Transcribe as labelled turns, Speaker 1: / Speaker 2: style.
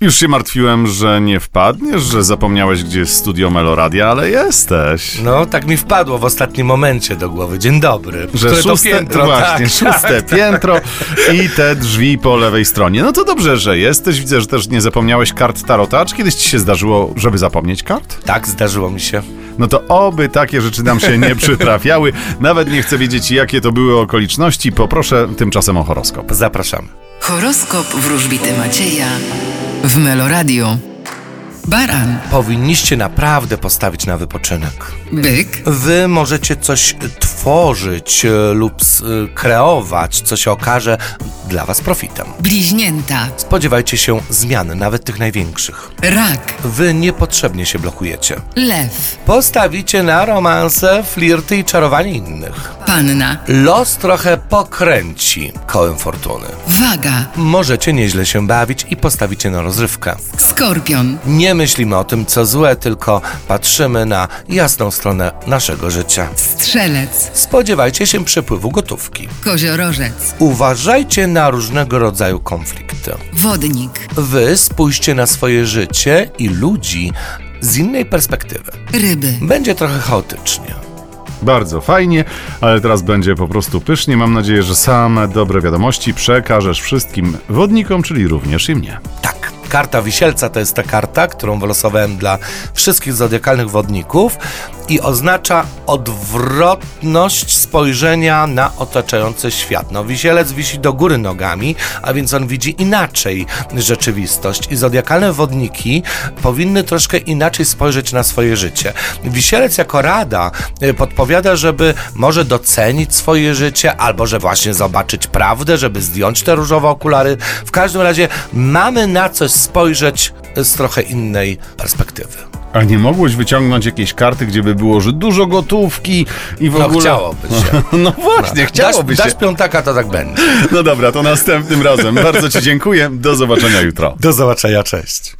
Speaker 1: Już się martwiłem, że nie wpadniesz, że zapomniałeś, gdzie jest studio Meloradia, ale jesteś.
Speaker 2: No, tak mi wpadło w ostatnim momencie do głowy. Dzień dobry.
Speaker 1: Że
Speaker 2: Które to
Speaker 1: szóste, No
Speaker 2: piętro,
Speaker 1: właśnie,
Speaker 2: tak,
Speaker 1: szóste piętro i te drzwi po lewej stronie. No to dobrze, że jesteś. Widzę, że też nie zapomniałeś kart tarota. Czy kiedyś ci się zdarzyło, żeby zapomnieć kart?
Speaker 2: Tak, zdarzyło mi się.
Speaker 1: No to oby takie rzeczy nam się nie przytrafiały. Nawet nie chcę wiedzieć, jakie to były okoliczności. Poproszę tymczasem o horoskop.
Speaker 2: Zapraszamy.
Speaker 3: Horoskop wróżbity Macieja w Meloradio. Baran,
Speaker 2: Powinniście naprawdę postawić na wypoczynek.
Speaker 3: byk,
Speaker 2: Wy możecie coś tworzyć e, lub s- e, kreować, co się okaże dla Was profitem.
Speaker 3: bliźnięta,
Speaker 2: Spodziewajcie się zmian, nawet tych największych.
Speaker 3: rak,
Speaker 2: Wy niepotrzebnie się blokujecie.
Speaker 3: lew,
Speaker 2: Postawicie na romanse, flirty i czarowanie innych.
Speaker 3: panna,
Speaker 2: Los trochę pokręci kołem fortuny.
Speaker 3: waga,
Speaker 2: Możecie nieźle się bawić i postawicie na rozrywkę.
Speaker 3: skorpion,
Speaker 2: Nie myślimy o tym, co złe, tylko patrzymy na jasną stronę naszego życia.
Speaker 3: strzelec,
Speaker 2: Spodziewajcie się przepływu gotówki.
Speaker 3: koziorożec,
Speaker 2: Uważajcie na różnego rodzaju konflikty.
Speaker 3: wodnik,
Speaker 2: Wy spójrzcie na swoje życie i ludzi z innej perspektywy.
Speaker 3: ryby.
Speaker 2: Będzie trochę chaotycznie.
Speaker 1: Bardzo fajnie, ale teraz będzie po prostu pysznie. Mam nadzieję, że same dobre wiadomości przekażesz wszystkim wodnikom, czyli również i mnie.
Speaker 2: Tak. Karta Wisielca to jest ta karta, którą wylosowałem dla wszystkich zodiakalnych wodników i oznacza odwrotność spojrzenia na otaczający świat. No, wisielec wisi do góry nogami, a więc on widzi inaczej rzeczywistość i zodiakalne wodniki powinny troszkę inaczej spojrzeć na swoje życie. Wisielec jako rada y, podpowiada, żeby może docenić swoje życie, albo że właśnie zobaczyć prawdę, żeby zdjąć te różowe okulary. W każdym razie mamy na coś spojrzeć z trochę innej perspektywy.
Speaker 1: A nie mogłeś wyciągnąć jakiejś karty, gdzie by było, że dużo gotówki i w
Speaker 2: No
Speaker 1: ogóle...
Speaker 2: chciałoby się.
Speaker 1: No właśnie, chciałoby
Speaker 2: dasz,
Speaker 1: się.
Speaker 2: dasz piątaka, to tak będzie.
Speaker 1: No dobra, to następnym razem. Bardzo ci dziękuję. Do zobaczenia jutro.
Speaker 2: Do zobaczenia, cześć.